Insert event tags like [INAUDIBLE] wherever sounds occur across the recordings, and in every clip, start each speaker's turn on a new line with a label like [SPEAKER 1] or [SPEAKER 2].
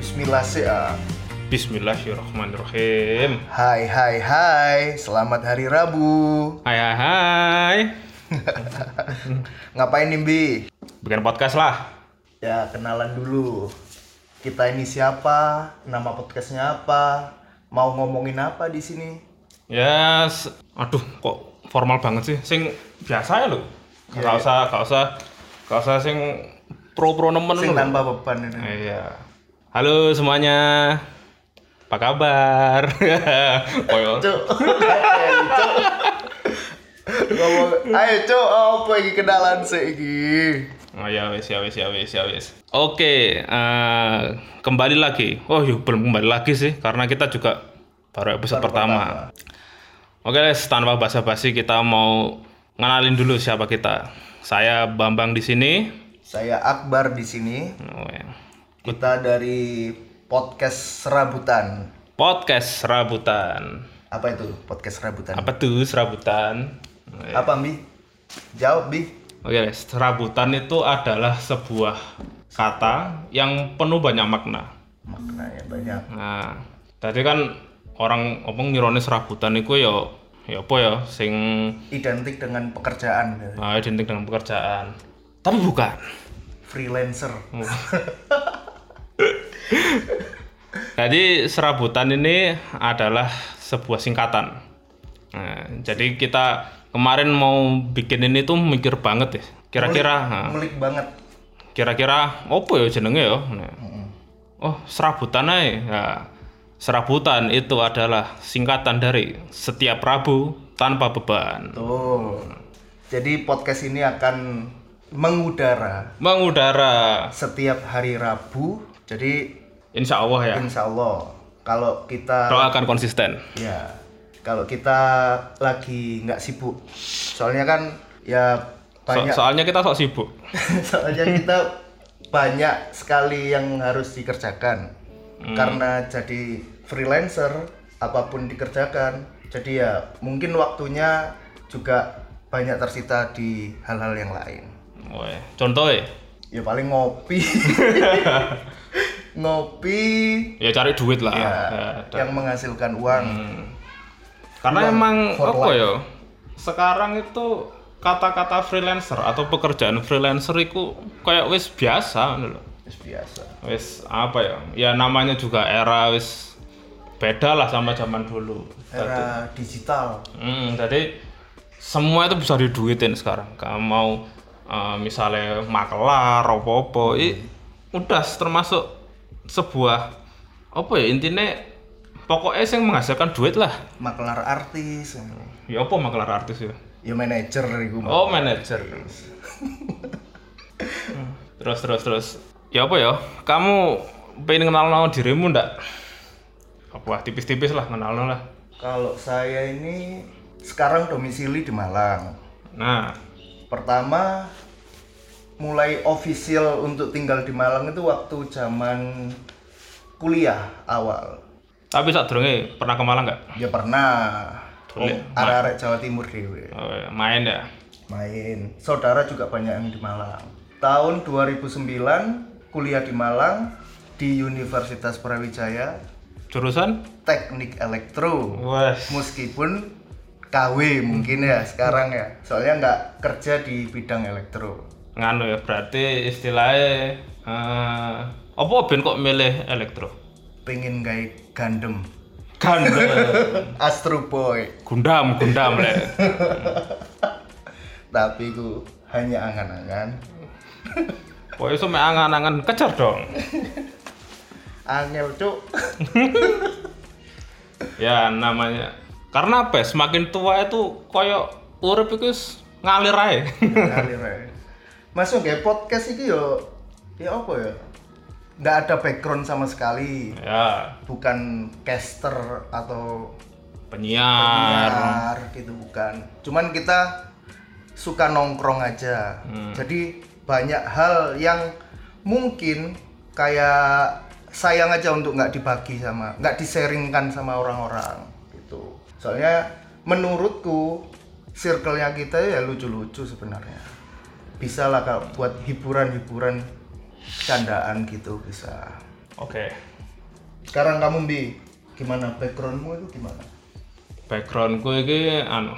[SPEAKER 1] Selasi. ah.
[SPEAKER 2] Bismillahirrahmanirrahim.
[SPEAKER 1] Hai hai hai, selamat hari Rabu.
[SPEAKER 2] Hai hai hai.
[SPEAKER 1] Ngapain nih Bi?
[SPEAKER 2] Bikin podcast lah.
[SPEAKER 1] Ya kenalan dulu. Kita ini siapa? Nama podcastnya apa? Mau ngomongin apa di sini?
[SPEAKER 2] Ya, s- aduh kok formal banget sih. Sing biasa ya lo. Gak usah, gak usah, gak usah sing pro-pro nemen
[SPEAKER 1] Sing
[SPEAKER 2] lo.
[SPEAKER 1] tanpa beban ini.
[SPEAKER 2] Iya. Halo semuanya. Apa kabar? [LAUGHS] Koyo.
[SPEAKER 1] Cuk. Ayo, Cuk. Ngomong, ayo Cuk, Oh, apa ini kenalan sih ini?
[SPEAKER 2] Oh ya wes ya wes ya wes ya wes. Oke, eh, kembali lagi. Oh yuk belum kembali lagi sih karena kita juga baru episode pertama. Oke Les, tanpa basa-basi kita mau ngenalin dulu siapa kita. Saya Bambang di sini.
[SPEAKER 1] Saya Akbar di sini.
[SPEAKER 2] Oh, ya.
[SPEAKER 1] Kita dari podcast Serabutan.
[SPEAKER 2] Podcast serabutan.
[SPEAKER 1] Apa itu podcast Serabutan?
[SPEAKER 2] Apa tuh serabutan? Oh, ya.
[SPEAKER 1] Apa Bi? Jawab Bi.
[SPEAKER 2] Oke Les, serabutan itu adalah sebuah kata yang penuh banyak makna.
[SPEAKER 1] Maknanya banyak.
[SPEAKER 2] Nah, tadi kan orang ngomong nyirone serabutan iku ya ya apa ya sing
[SPEAKER 1] Identik dengan pekerjaan. ya.
[SPEAKER 2] eh, identik dengan pekerjaan. Tapi bukan.
[SPEAKER 1] Freelancer.
[SPEAKER 2] Hmm. Jadi serabutan ini adalah sebuah singkatan. Nah, jadi kita kemarin mau bikin ini tuh mikir banget ya. Kira-kira nah,
[SPEAKER 1] Melik banget.
[SPEAKER 2] kira-kira opo ya jenenge ya. Nah, Oh, serabutan ae. Nah, serabutan itu adalah singkatan dari setiap Rabu tanpa beban.
[SPEAKER 1] Tuh. Jadi podcast ini akan mengudara
[SPEAKER 2] mengudara
[SPEAKER 1] setiap hari Rabu. Jadi
[SPEAKER 2] insya Allah ya
[SPEAKER 1] insya Allah kalau kita
[SPEAKER 2] doakan konsisten
[SPEAKER 1] ya kalau kita lagi nggak sibuk. Soalnya kan ya
[SPEAKER 2] So-
[SPEAKER 1] banyak
[SPEAKER 2] soalnya kita sok sibuk
[SPEAKER 1] [LAUGHS] soalnya kita banyak sekali yang harus dikerjakan karena jadi freelancer apapun dikerjakan jadi ya mungkin waktunya juga banyak tersita di hal-hal yang lain
[SPEAKER 2] Woy. contoh ya
[SPEAKER 1] ya paling ngopi ngopi
[SPEAKER 2] ya cari duit lah
[SPEAKER 1] ya,
[SPEAKER 2] Ya, da-
[SPEAKER 1] yang menghasilkan uang
[SPEAKER 2] karena
[SPEAKER 1] uang
[SPEAKER 2] emang
[SPEAKER 1] Iya. for
[SPEAKER 2] apa ya sekarang itu kata-kata freelancer atau pekerjaan freelancer itu kayak wis biasa ngono lho.
[SPEAKER 1] Terus ya biasa
[SPEAKER 2] wis apa ya ya namanya juga era wis beda lah sama zaman dulu
[SPEAKER 1] era digital
[SPEAKER 2] Hmm, jadi semua itu bisa diduitin sekarang. Kamu mau eh, misalnya makelar, apa-apa, i, udah termasuk sebuah apa ya intinya pokoknya sing menghasilkan duit lah.
[SPEAKER 1] makelar artis
[SPEAKER 2] Ya apa makelar artis ya?
[SPEAKER 1] ya manajer iku Mbak.
[SPEAKER 2] Oh manajer. Hmm, [LAUGHS] terus terus terus. Ya apa ya? Kamu pengen kenal dirimu ndak? Apa tipis-tipis lah kenal lah.
[SPEAKER 1] Kalau saya ini sekarang domisili di Malang.
[SPEAKER 2] Nah,
[SPEAKER 1] Pertama mulai official untuk tinggal di Malang itu waktu zaman kuliah awal.
[SPEAKER 2] tapi saat pernah ke Malang nggak?
[SPEAKER 1] Ya pernah
[SPEAKER 2] Boleh.
[SPEAKER 1] Oh, arek-arek Jawa Timur dewe
[SPEAKER 2] Oh, ya, main ya.
[SPEAKER 1] main. Saudara juga banyak yang di Malang. Tahun 2009 kuliah di Malang di Universitas Brawijaya
[SPEAKER 2] Jurusan?
[SPEAKER 1] Teknik Elektro.
[SPEAKER 2] Wah.
[SPEAKER 1] meskipun KW mungkin ya sekarang ya soalnya nggak kerja di bidang elektro
[SPEAKER 2] Nganu ya berarti istilahnya eh apa ben kok milih elektro?
[SPEAKER 1] pengen gawe gandem
[SPEAKER 2] [LAUGHS] Gandam.
[SPEAKER 1] Astro Boy
[SPEAKER 2] gundam, gundam lek.
[SPEAKER 1] tapi ku hanya angan-angan
[SPEAKER 2] Kok iso mek angan-angan kejar dong.
[SPEAKER 1] angel cuk
[SPEAKER 2] Ya namanya. Karena apa? ya, Semakin tua itu koyo urip iku wis ngalir ae. [LAUGHS]
[SPEAKER 1] Ngalir ae. masuk kayak podcast iki yo ya apa ya nggak ada background sama sekali
[SPEAKER 2] ya,
[SPEAKER 1] bukan caster atau
[SPEAKER 2] penyiar.
[SPEAKER 1] Benar, gitu bukan. Cuman kita suka nongkrong aja. Jadi banyak hal yang mungkin kayak sayang aja untuk nggak dibagi sama, nggak diseringkan sama orang-orang gitu. Soalnya menurutku circle-nya kita ya lucu-lucu sebenarnya. Bisa lah kalau buat hiburan-hiburan candaan gitu bisa.
[SPEAKER 2] Oke.
[SPEAKER 1] Sekarang kamu Bi, gimana backgroundmu itu gimana?
[SPEAKER 2] backgroundku ini anu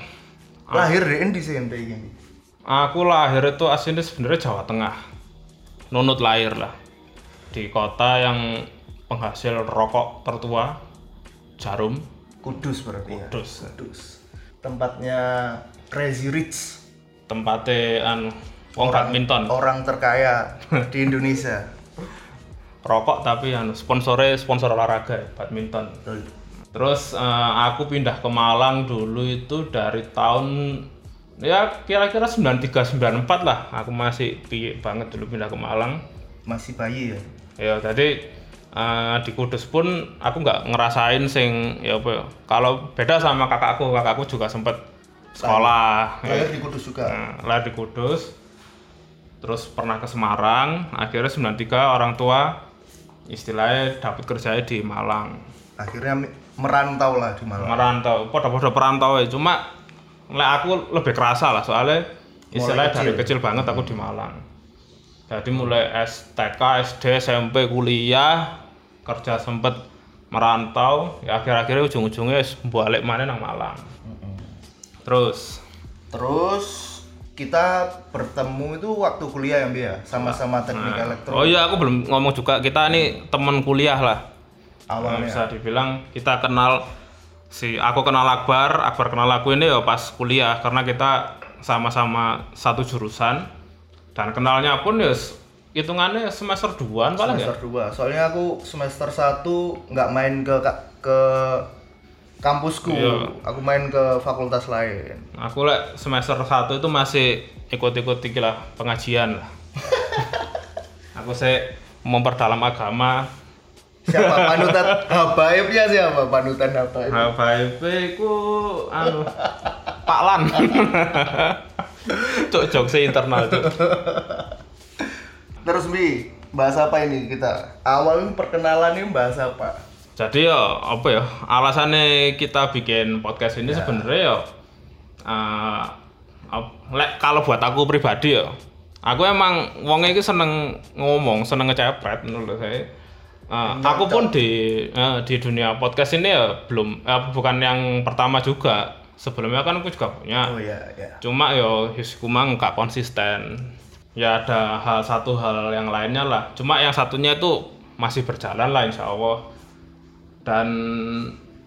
[SPEAKER 1] Lahir di Endi sih ente iki. Bi?
[SPEAKER 2] aku lahir itu aslinya sebenarnya Jawa Tengah nunut lahir lah di kota yang penghasil rokok tertua jarum
[SPEAKER 1] Kudus berarti ya.
[SPEAKER 2] Kudus.
[SPEAKER 1] Kudus. Tempatnya Crazy Rich,
[SPEAKER 2] tempatnya anu wong badminton
[SPEAKER 1] orang terkaya di Indonesia.
[SPEAKER 2] rokok tapi anu sponsornya sponsor olahraga badminton
[SPEAKER 1] Betul.
[SPEAKER 2] terus eh, aku pindah ke Malang dulu itu dari tahun ya kira-kira 93 94 lah aku masih piye banget dulu pindah ke Malang
[SPEAKER 1] Masih bayi ya.
[SPEAKER 2] ya tadi eh, di Kudus pun aku nggak ngerasain sing ya apa ya kalau beda sama kakakku kakakku juga sempet sekolah ya.
[SPEAKER 1] Lahir di Kudus juga.
[SPEAKER 2] Nah, lahir di Kudus terus pernah ke Semarang akhirnya 93 orang tua istilahnya dapat kerjanya di Malang
[SPEAKER 1] Akhirnya mi- merantau lah di Malang.
[SPEAKER 2] merantau podo-podo perantau ya cuma lek aku lebih kerasa lah soalnya istilahnya dari kecil banget aku di Malang jadi mulai STK, SD, SMP, kuliah kerja sempet merantau ya akhir-akhirnya ujung-ujungnya wis balik mana nang Malang terus
[SPEAKER 1] Terus kita bertemu itu waktu kuliah yang biasa sama-sama teknik elektro
[SPEAKER 2] oh iya aku belum ngomong juga kita ini teman kuliah lah Nah,
[SPEAKER 1] awalnya.
[SPEAKER 2] bisa dibilang kita kenal si aku kenal Akbar, Akbar kenal aku ini ya pas kuliah karena kita sama-sama satu jurusan dan kenalnya pun ya s- hitungannya ya semester 2 paling ya.
[SPEAKER 1] semester 2. Soalnya aku semester 1 nggak main ke ka- ke kampusku.
[SPEAKER 2] Iya.
[SPEAKER 1] Aku main ke fakultas lain.
[SPEAKER 2] Aku lek semester 1 itu masih ikut-ikut iki lah pengajian [LAUGHS] lah. aku saya memperdalam agama.
[SPEAKER 1] Siapa panutan habaibnya siapa panutan habaib?
[SPEAKER 2] HVP ku anu Pak Lan. [LAUGHS] Cok jokse internal cok.
[SPEAKER 1] Terus Bi, bahas apa ini kita? Awal ini perkenalan ini bahas apa?
[SPEAKER 2] Jadi ya apa ya alasannya kita bikin podcast ini sebenarnya ya eh, ap- lek kalau buat aku pribadi ya aku emang wongnya itu seneng ngomong seneng ngecepret menurut saya Eh, aku pun di eh, di dunia podcast ini ya belum eh, bukan yang pertama juga sebelumnya kan aku juga punya
[SPEAKER 1] Oh ya ya.
[SPEAKER 2] cuma yo Yusiku mah nggak konsisten ya ada hal satu hal yang lainnya lah cuma yang satunya itu masih berjalan lah insya Allah dan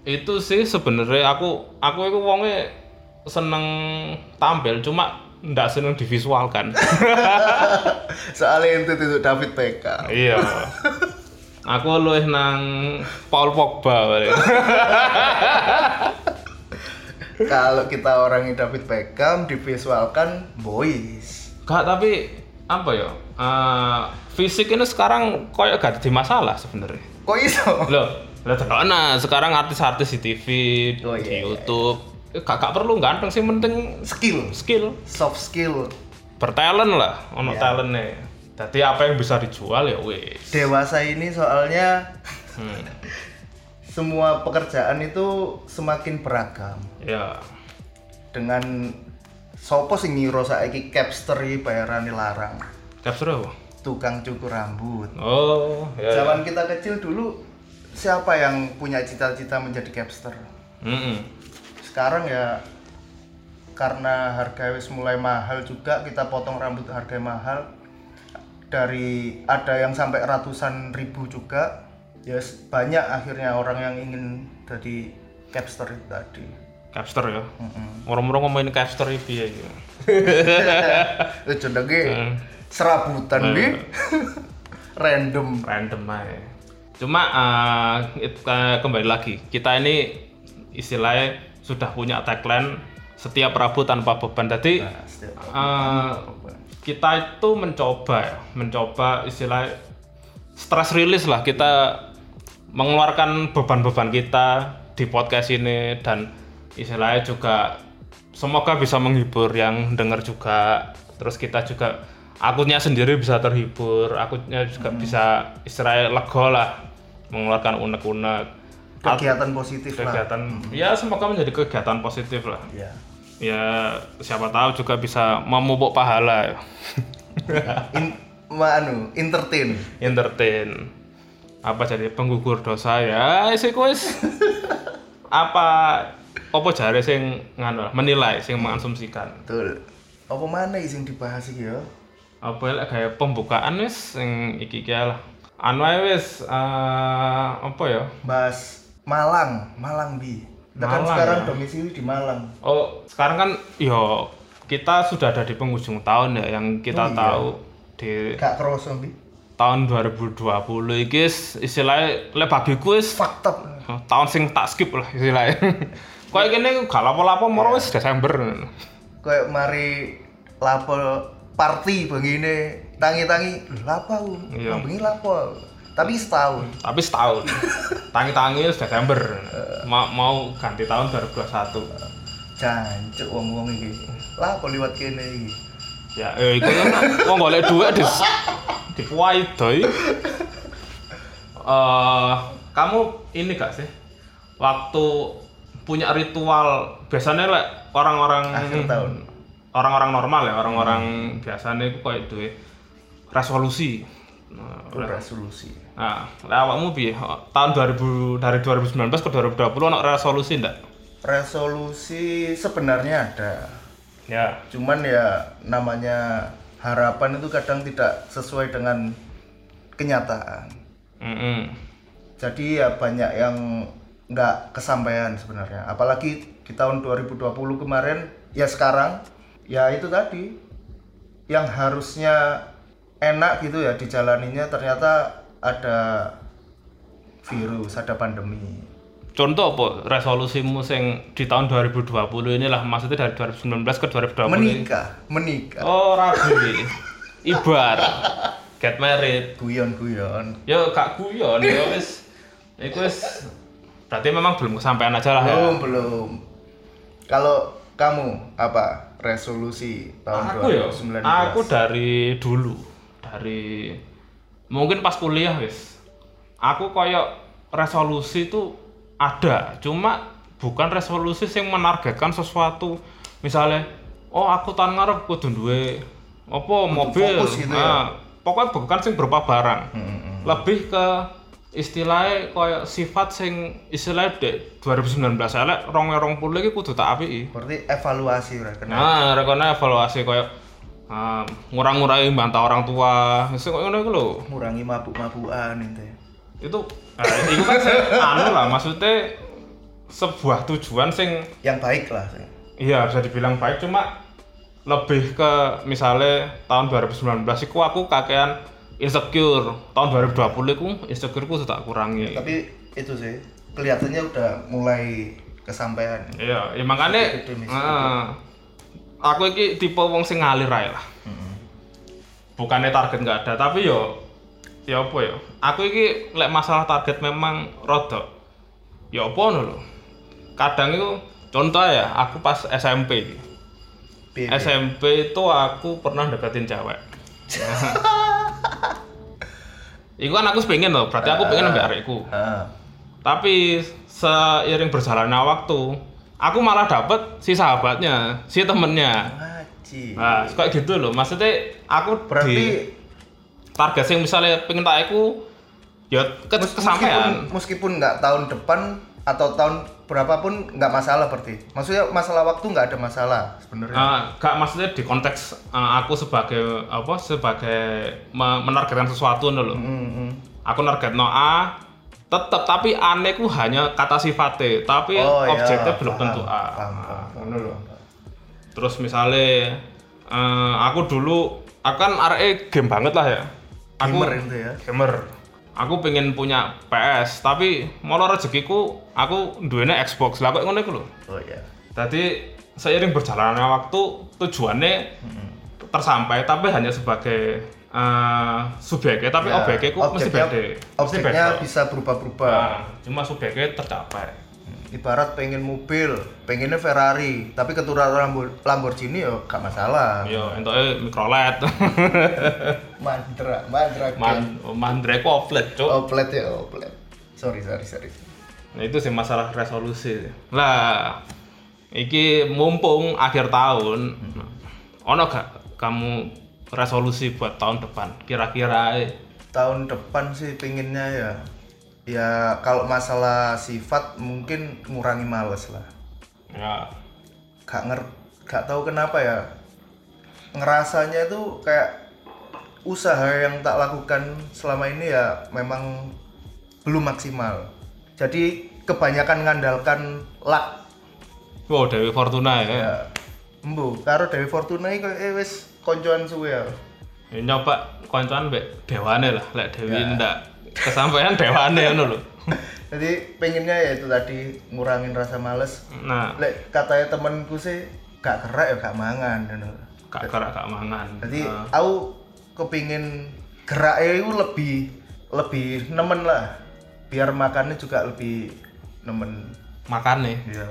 [SPEAKER 2] itu sih sebenarnya aku aku itu wonge seneng tampil cuma ndak seneng divisualkan
[SPEAKER 1] Soalnya itu itu David Beckham.
[SPEAKER 2] iya aku luwih nang Paul Pogba balik.
[SPEAKER 1] Kalau kita orangnya David Beckham divisualkan boys.
[SPEAKER 2] Gak tapi apa ya eh, fisik ini sekarang koyo gak jadi masalah sebenarnya
[SPEAKER 1] Kok iso?
[SPEAKER 2] Loh, lah nah sekarang artis-artis di TV,
[SPEAKER 1] Oh,
[SPEAKER 2] di
[SPEAKER 1] iya, iya,
[SPEAKER 2] YouTube, Eh, gak, gak perlu ganteng sih penting
[SPEAKER 1] Skill,
[SPEAKER 2] skill,
[SPEAKER 1] soft skill,
[SPEAKER 2] bertalent lah, ono
[SPEAKER 1] Iya.
[SPEAKER 2] talentnya. Jadi apa yang bisa dijual ya Hmm, wes.
[SPEAKER 1] dewasa ini soalnya semua pekerjaan itu semakin beragam
[SPEAKER 2] Ya,
[SPEAKER 1] dengan sopo sing ngira saiki capster iki bayarane larang
[SPEAKER 2] capture apa?
[SPEAKER 1] tukang cukur rambut
[SPEAKER 2] Oh, ya.
[SPEAKER 1] zaman kita kecil dulu siapa yang punya cita-cita menjadi capster
[SPEAKER 2] Mm-mm.
[SPEAKER 1] sekarang ya karena harga wis mulai mahal juga kita potong rambut harga mahal dari ada yang sampai ratusan ribu juga ya s- banyak akhirnya orang yang ingin jadi capster itu tadi
[SPEAKER 2] Capster ya.
[SPEAKER 1] Hmm.
[SPEAKER 2] Orang-orang ngomongin capster ya piye gitu.
[SPEAKER 1] itu Eh,
[SPEAKER 2] Hmm.
[SPEAKER 1] jenenge serabutan di [LAUGHS] random
[SPEAKER 2] Random aja. Cuma eh, it- eh, kembali lagi, kita ini istilahnya sudah punya tagline setiap Rabu tanpa beban. Jadi
[SPEAKER 1] Nah, setiap-
[SPEAKER 2] Eh, kita itu mencoba ya, mencoba istilah stress release lah kita mengeluarkan beban-beban kita di podcast ini dan istilahnya juga semoga bisa menghibur yang dengar juga terus kita juga akunya sendiri bisa terhibur akunya juga bisa istilahnya lego lah mengeluarkan unek-unek
[SPEAKER 1] kegiatan positif lah
[SPEAKER 2] kegiatan ya semoga menjadi kegiatan positif lah
[SPEAKER 1] ya
[SPEAKER 2] ya siapa tahu juga bisa memupuk pahala ya.
[SPEAKER 1] In- ma- anu entertain
[SPEAKER 2] entertain apa jadi penggugur dosa ya sih kuis apa opo jare sing nganu lah, menilai sing mengonsumsikan
[SPEAKER 1] Betul. Apa mana sing dibahas iki ya?
[SPEAKER 2] apa ya kayak pembukaan wis sing iki iki lah anu ae wis eh, apa ya
[SPEAKER 1] Bahas Malang, Malang Bi. Kita kan
[SPEAKER 2] Malang,
[SPEAKER 1] sekarang
[SPEAKER 2] ya?
[SPEAKER 1] domisili di Malang.
[SPEAKER 2] oh sekarang kan yo kita sudah ada di penghujung tahun ya yang
[SPEAKER 1] Oh,
[SPEAKER 2] kita
[SPEAKER 1] iya.
[SPEAKER 2] tahu di
[SPEAKER 1] Gak kerasa Bi.
[SPEAKER 2] tahun 2020 iki is- istilahnya le bagiku is
[SPEAKER 1] Fucked up.
[SPEAKER 2] tahun sing tak skip lah
[SPEAKER 1] [LAUGHS]
[SPEAKER 2] istilahnya kayak gini gak lapo-lapo moro wis Desember
[SPEAKER 1] Kayak mari lapel party begini tangi-tangi lapa aku
[SPEAKER 2] Iya.
[SPEAKER 1] bengi lapa tapi setahun
[SPEAKER 2] tapi setahun tangi-tangi wis Desember mau, mau ganti tahun 2021
[SPEAKER 1] jancuk wong-wong iki lapa liwat kene iki
[SPEAKER 2] Ya, ya iku kan wong golek dhuwit di dikuwai doi. Eh, kamu ini gak sih? Waktu punya ritual biasanya lek orang-orang
[SPEAKER 1] akhir tahun
[SPEAKER 2] orang-orang normal ya, orang-orang biasanya iku koyo duwe resolusi.
[SPEAKER 1] Itu resolusi
[SPEAKER 2] Nah, lek awakmu piye? Tahun 2000 dari 2019 ke 2020 ono resolusi ndak?
[SPEAKER 1] resolusi sebenarnya ada
[SPEAKER 2] Ya.
[SPEAKER 1] cuman ya namanya harapan itu kadang tidak sesuai dengan kenyataan
[SPEAKER 2] Mm
[SPEAKER 1] jadi ya banyak yang nggak kesampaian sebenarnya apalagi di tahun 2020 kemarin ya sekarang ya itu tadi yang harusnya enak gitu ya dijalaninya ternyata ada virus ada pandemi
[SPEAKER 2] Contoh apa resolusimu sing di tahun 2020 inilah maksudnya dari 2019 ke 2020.
[SPEAKER 1] menikah menikah
[SPEAKER 2] Oh, rabi. Ibar. Get married.
[SPEAKER 1] guyon guyon
[SPEAKER 2] Yo gak guyon yo wis. Iku wis berarti memang belum kesampaian aja lah ya.
[SPEAKER 1] belum belum kalau kamu apa resolusi tahun
[SPEAKER 2] Aku yo.
[SPEAKER 1] 2019
[SPEAKER 2] Aku dari dulu dari mungkin pas kuliah wis. Aku koyo resolusi tuh ada, cuma bukan resolusi yang menargetkan sesuatu. Misalnya, oh aku tahun ngarep kudu duwe apa mobil.
[SPEAKER 1] fokus gitu ya.
[SPEAKER 2] Nah, pokoknya bukan sing berupa barang.
[SPEAKER 1] Mm, mm.
[SPEAKER 2] Lebih ke istilahnya koyo sifat sing istilahnya dek 2019 saya lek 2020 iki kudu tak apiki.
[SPEAKER 1] berarti evaluasi udah kena
[SPEAKER 2] Nah, rekono evaluasi koyo um, ngurang-ngurangi bantah orang tua. Sing koyo ngono iku lho.
[SPEAKER 1] ngurangi mabuk-mabukan itu ya.
[SPEAKER 2] Itu nah, itu kan sing [LAUGHS] anu lah maksudnya sebuah tujuan sing
[SPEAKER 1] yang baik lah sih.
[SPEAKER 2] iya bisa dibilang baik cuma lebih ke misalnya tahun 2019 iku aku kakean insecure. Tahun 2020 iku insecureku sudah tak kurangi.
[SPEAKER 1] tapi itu sih kelihatannya udah mulai kesampaian
[SPEAKER 2] Iya, ya makanya
[SPEAKER 1] Sedikit demi
[SPEAKER 2] eh, aku iki tipe wong sing ngalir ae lah. Bukannya target nggak ada, tapi yo ya apa yo. Aku iki lek masalah target memang rada ya apa ngono lho. Kadang itu contoh ya, aku pas SMP iki.
[SPEAKER 1] Bi-
[SPEAKER 2] SMP itu aku pernah deketin
[SPEAKER 1] [LAUGHS]
[SPEAKER 2] cewek. Iku kan aku pengen loh, berarti aku pengen ambil arekku.
[SPEAKER 1] Ah,
[SPEAKER 2] Tapi seiring berjalannya waktu, aku malah dapet si sahabatnya, si temennya.
[SPEAKER 1] ngaji
[SPEAKER 2] Nah, kayak gitu loh. Maksudnya aku di
[SPEAKER 1] berarti
[SPEAKER 2] target yang misalnya pengen tak aku, ya ke
[SPEAKER 1] mes-
[SPEAKER 2] kesampaian.
[SPEAKER 1] meskipun meskipun nggak tahun depan atau tahun berapapun nggak masalah berarti maksudnya masalah waktu nggak ada masalah sebenarnya
[SPEAKER 2] Ah, gak maksudnya di konteks ah, aku sebagai apa sebagai me- menargetkan sesuatu nih loh.
[SPEAKER 1] Mm, mm.
[SPEAKER 2] Aku nargetno A, tetep tapi aneh ku hanya kata sifatnya, tapi
[SPEAKER 1] iya,
[SPEAKER 2] objeknya belum
[SPEAKER 1] paham,
[SPEAKER 2] tentu A. Nah,
[SPEAKER 1] paham, paham, paham.
[SPEAKER 2] Terus misalnya eh, aku dulu aku kan RE game banget lah ya. Aku
[SPEAKER 1] gamer itu ya
[SPEAKER 2] gamer. Aku pengen punya PS, tapi malah rezekiku aku duwene Xbox. Lah kok ngono iku lho.
[SPEAKER 1] oh ya
[SPEAKER 2] Tadi seiring berjalannya waktu tujuannya tersampai tapi hanya sebagai eh, subjeknya tapi
[SPEAKER 1] Ya,
[SPEAKER 2] objeknya ku mesti
[SPEAKER 1] objeknya-
[SPEAKER 2] beda. Mesti
[SPEAKER 1] objeknya
[SPEAKER 2] beda.
[SPEAKER 1] bisa berubah-berubah
[SPEAKER 2] Nah, cuma subjeknya tercapai.
[SPEAKER 1] ibarat pengen mobil pengennya Ferrari tapi keturunan Lambo- Lamborghini ya gak masalah
[SPEAKER 2] Yo, entoke mikrolet. [LAUGHS]
[SPEAKER 1] mandra mandra kan.
[SPEAKER 2] Man, mandrek oplet, cuk.
[SPEAKER 1] oplet ya oplet sorry sorry sorry
[SPEAKER 2] Nah itu sih masalah resolusi. Lah, iki mumpung akhir tahun, ono gak kamu resolusi buat tahun depan? Kira-kira eh,
[SPEAKER 1] tahun depan sih pinginnya ya ya kalau masalah sifat mungkin ngurangi males lah
[SPEAKER 2] Ya.
[SPEAKER 1] gak nger gak tahu kenapa ya ngerasanya itu kayak usaha yang tak lakukan selama ini ya memang belum maksimal jadi kebanyakan ngandalkan luck
[SPEAKER 2] Wow, Dewi Fortuna ya.
[SPEAKER 1] ya embu karo Dewi Fortuna iki eh wis koncoan suwe ya
[SPEAKER 2] Ya, nyoba koncoan mbek dewane lah, lek Dewi ndak kesampaian [LAUGHS] dewane ngono lho.
[SPEAKER 1] jadi pengennya ya itu tadi ngurangin rasa males
[SPEAKER 2] Nah,
[SPEAKER 1] lek katanya temenku sih gak kerak ya gak mangan ngono.
[SPEAKER 2] gak kerak gak mangan.
[SPEAKER 1] jadi aku kepingin geraknya itu lebih lebih nemen lah biar makannya juga lebih nemen
[SPEAKER 2] Makane.
[SPEAKER 1] ya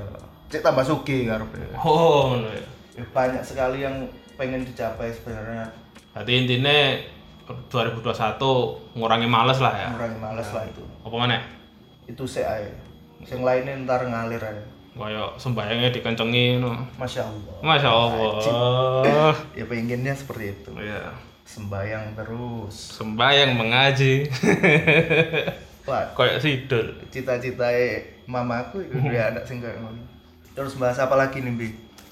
[SPEAKER 1] cek tambah suki karena
[SPEAKER 2] Oh, ngono ya.
[SPEAKER 1] banyak sekali yang pengen dicapai sebenarnya
[SPEAKER 2] Berarti intinya 2021 ngurangi males lah ya.
[SPEAKER 1] ngurangi males lah itu
[SPEAKER 2] Apa meneh?
[SPEAKER 1] itu sih ae yang lainnya ntar ngalir aja
[SPEAKER 2] Kayak sembayangnya dikencengi ngono.
[SPEAKER 1] masya allah
[SPEAKER 2] Masya Allah.
[SPEAKER 1] ya pengennya seperti itu
[SPEAKER 2] Iya.
[SPEAKER 1] sembayang terus
[SPEAKER 2] Sembayang mengaji. [LAUGHS]
[SPEAKER 1] Wah,
[SPEAKER 2] Kayak sidul.
[SPEAKER 1] cita-cita mamaku itu
[SPEAKER 2] Hmm.
[SPEAKER 1] dia anak sing kayak ngono. Terus bahas apa lagi nih, Bi?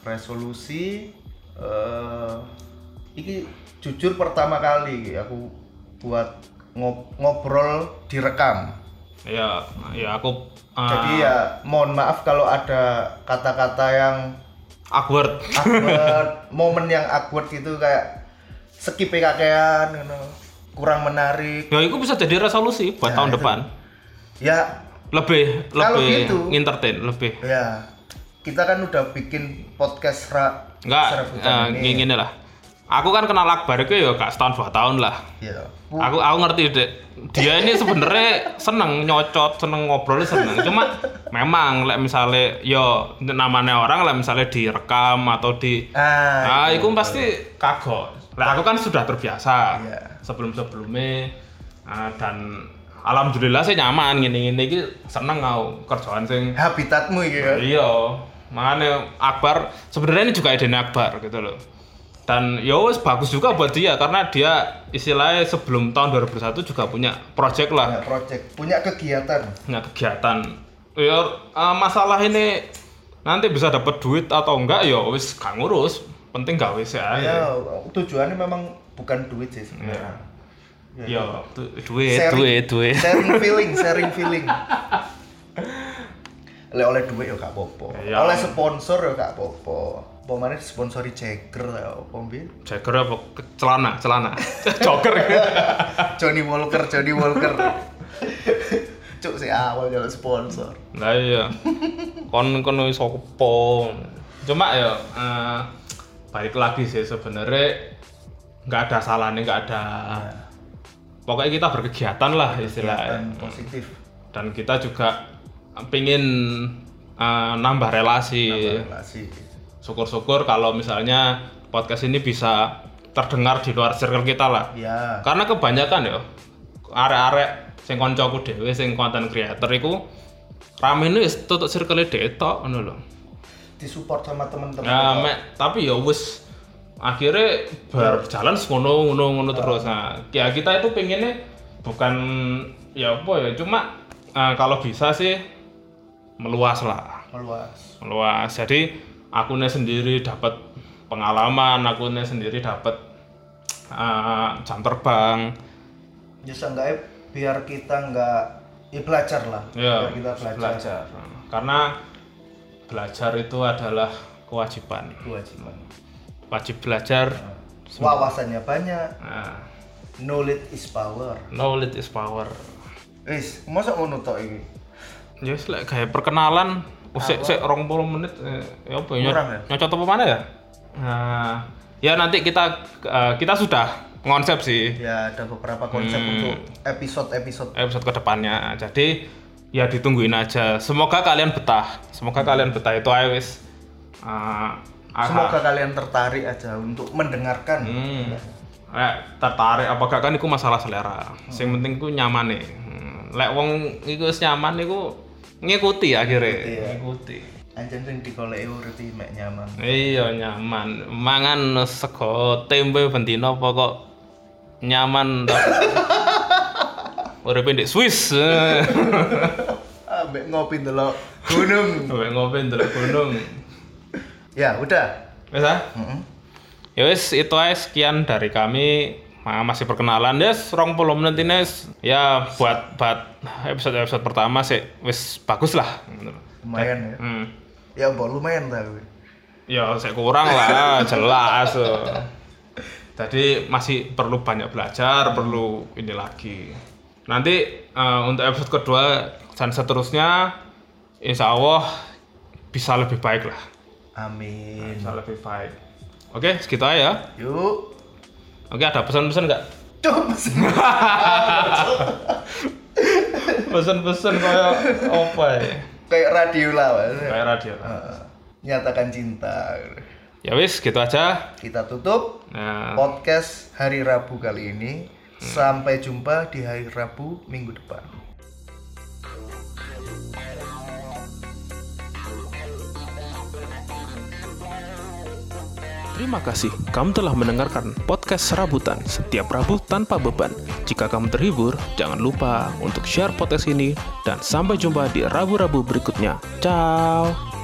[SPEAKER 1] Resolusi eh iki jujur pertama kali aku buat ngob- ngobrol direkam.
[SPEAKER 2] Ya, ya aku uh,
[SPEAKER 1] Jadi ya mohon maaf kalau ada kata-kata yang
[SPEAKER 2] awkward. [LAUGHS]
[SPEAKER 1] awkward, momen yang awkward gitu kayak skip kakean ngono. Kurang menarik.
[SPEAKER 2] Ya, itu bisa jadi resolusi buat tahun depan.
[SPEAKER 1] Ya,
[SPEAKER 2] Lebih
[SPEAKER 1] Kalau
[SPEAKER 2] lebih
[SPEAKER 1] gitu.
[SPEAKER 2] entertain, lebih.
[SPEAKER 1] ya. Kita kan udah bikin podcast ra
[SPEAKER 2] Enggak,
[SPEAKER 1] serabutan
[SPEAKER 2] eh,
[SPEAKER 1] ini.
[SPEAKER 2] gini lah. Aku kan kenal Akbar itu ya gak setahun dua tahun lah.
[SPEAKER 1] Ya.
[SPEAKER 2] Aku aku ngerti dek. Dia ini sebenarnya seneng nyocot, seneng ngobrol, seneng. Cuma memang lek misalnya yo namanya orang lek misalnya direkam atau di
[SPEAKER 1] Ah,
[SPEAKER 2] Ah, itu pasti kagok. Lah aku kan sudah terbiasa
[SPEAKER 1] Iya.
[SPEAKER 2] sebelum-sebelumnya ah, dan alhamdulillah sih nyaman gini-gini iki seneng aku kerjaan sing
[SPEAKER 1] habitatmu iki ya.
[SPEAKER 2] Iya, makanya Akbar sebenarnya ini juga ide Akbar gitu loh. Dan ya wes bagus juga buat dia karena dia istilahnya sebelum tahun 2001 juga punya project lah,
[SPEAKER 1] Punya project, punya kegiatan.
[SPEAKER 2] punya kegiatan. Ya eh, masalah ini nanti bisa dapat duit atau enggak ya wes gak ngurus, penting gawe sih
[SPEAKER 1] Ya,
[SPEAKER 2] aja.
[SPEAKER 1] tujuannya memang bukan duit sih sebenarnya.
[SPEAKER 2] Ya, du- duit,
[SPEAKER 1] Sharing.
[SPEAKER 2] duit, duit.
[SPEAKER 1] Sharing feeling, sharing feeling. oleh oleh duit ya gak apa-apa.
[SPEAKER 2] Ya.
[SPEAKER 1] Oleh sponsor ya gak apa-apa. Pemane sponsori Jagger ya apa mbi?
[SPEAKER 2] Jagger apa Ke- celana, celana. [LAUGHS] Jogger.
[SPEAKER 1] [LAUGHS] Johnny Walker, Johnny Walker. Cuk sih awal jalan sponsor.
[SPEAKER 2] Lah iya. Kon kon iso kepo. Cuma ya eh, balik lagi sih sebenarnya nggak ada salahnya nggak ada pokoknya kita berkegiatan lah istilahnya
[SPEAKER 1] Dan positif.
[SPEAKER 2] dan kita juga pingin eh, nambah relasi
[SPEAKER 1] Relasi.
[SPEAKER 2] syukur-syukur kalau misalnya podcast ini bisa terdengar di luar circle kita lah
[SPEAKER 1] Ya,
[SPEAKER 2] karena kebanyakan ya arek-arek sing koncoku dhewe sing konten creator iku rame ini wis tutup circle dhewe tok ngono lho.
[SPEAKER 1] disupport sama teman-teman.
[SPEAKER 2] Ya mek tapi ya wis akhirnya berjalan ngono ngono ngono terus. Nah, ya kita itu pengennya bukan ya apa ya cuma eh, kalau bisa sih meluas lah
[SPEAKER 1] meluas.
[SPEAKER 2] meluas jadi akunnya sendiri dapat pengalaman akunnya sendiri dapat eh, jam terbang
[SPEAKER 1] ya seenggaknya biar kita nggak ya belajar lah
[SPEAKER 2] Ya,
[SPEAKER 1] biar kita belajar,
[SPEAKER 2] Karena belajar itu adalah kewajiban.
[SPEAKER 1] kewajiban
[SPEAKER 2] Wajib belajar.
[SPEAKER 1] wawasannya banyak
[SPEAKER 2] Nah,
[SPEAKER 1] knowledge is power
[SPEAKER 2] knowledge is power.
[SPEAKER 1] wis masa mau nutok ini
[SPEAKER 2] Ya wis, lek kayak perkenalan usik sik 20 menit eh, ya apa ya?
[SPEAKER 1] Kurang ya?
[SPEAKER 2] Nyocot apa mana ya? Nah, ya nanti kita eh, kita sudah konsep sih
[SPEAKER 1] ya ada beberapa konsep
[SPEAKER 2] Hmm.
[SPEAKER 1] untuk episode-episode
[SPEAKER 2] episode kedepannya. Jadi ya ditungguin aja. Semoga kalian betah. Semoga kalian betah itu ayo wis. Eh, aha.
[SPEAKER 1] semoga kalian tertarik aja untuk mendengarkan
[SPEAKER 2] Hmm. Lek tertarik apa gak kan itu masalah selera. Sing penting ku nyaman nih. Hmm. Lek wong iku wis nyaman iku ngikuti akhirnya. Ngikuti.
[SPEAKER 1] anjir sing digoleki urip iki mek nyaman
[SPEAKER 2] Iya nyaman. Mangan sego tempe bendino pokok nyaman. Uripe di Swiss.
[SPEAKER 1] Ambek Ah, ngopi dulu gunung.
[SPEAKER 2] Sampai ngopi ndelok gunung.
[SPEAKER 1] [LAUGHS] ya, udah.
[SPEAKER 2] Wes ah? Ya wes itu aja sekian dari kami. Ma- masih perkenalan des rong puluh menit ini wes. ya buat buat episode episode pertama sih wes bagus lah
[SPEAKER 1] Lumayan ya.
[SPEAKER 2] hmm.
[SPEAKER 1] Ya, mbok lumayan tapi.
[SPEAKER 2] ya saya kurang [LAUGHS] lah jelas eh. jadi masih perlu banyak belajar perlu ini lagi nanti eh, untuk episode kedua dan seterusnya insya Allah bisa lebih baik lah
[SPEAKER 1] Amin.
[SPEAKER 2] bisa lebih baik oke segitu aja ya
[SPEAKER 1] Yuk.
[SPEAKER 2] oke ada pesan-pesan nggak
[SPEAKER 1] Coba
[SPEAKER 2] pesan-pesan kayak apa ya
[SPEAKER 1] [LAUGHS] kayak radio lah. Mas.
[SPEAKER 2] kayak radio lah.
[SPEAKER 1] Heeh. Nyatakan cinta.
[SPEAKER 2] ya wis gitu aja
[SPEAKER 1] Kita tutup
[SPEAKER 2] nah
[SPEAKER 1] podcast hari Rabu kali ini. Sampai jumpa di hari Rabu minggu depan.
[SPEAKER 3] Terima kasih, kamu telah mendengarkan podcast Serabutan setiap Rabu tanpa beban. Jika kamu terhibur, jangan lupa untuk share podcast ini dan sampai jumpa di Rabu-Rabu berikutnya. Ciao!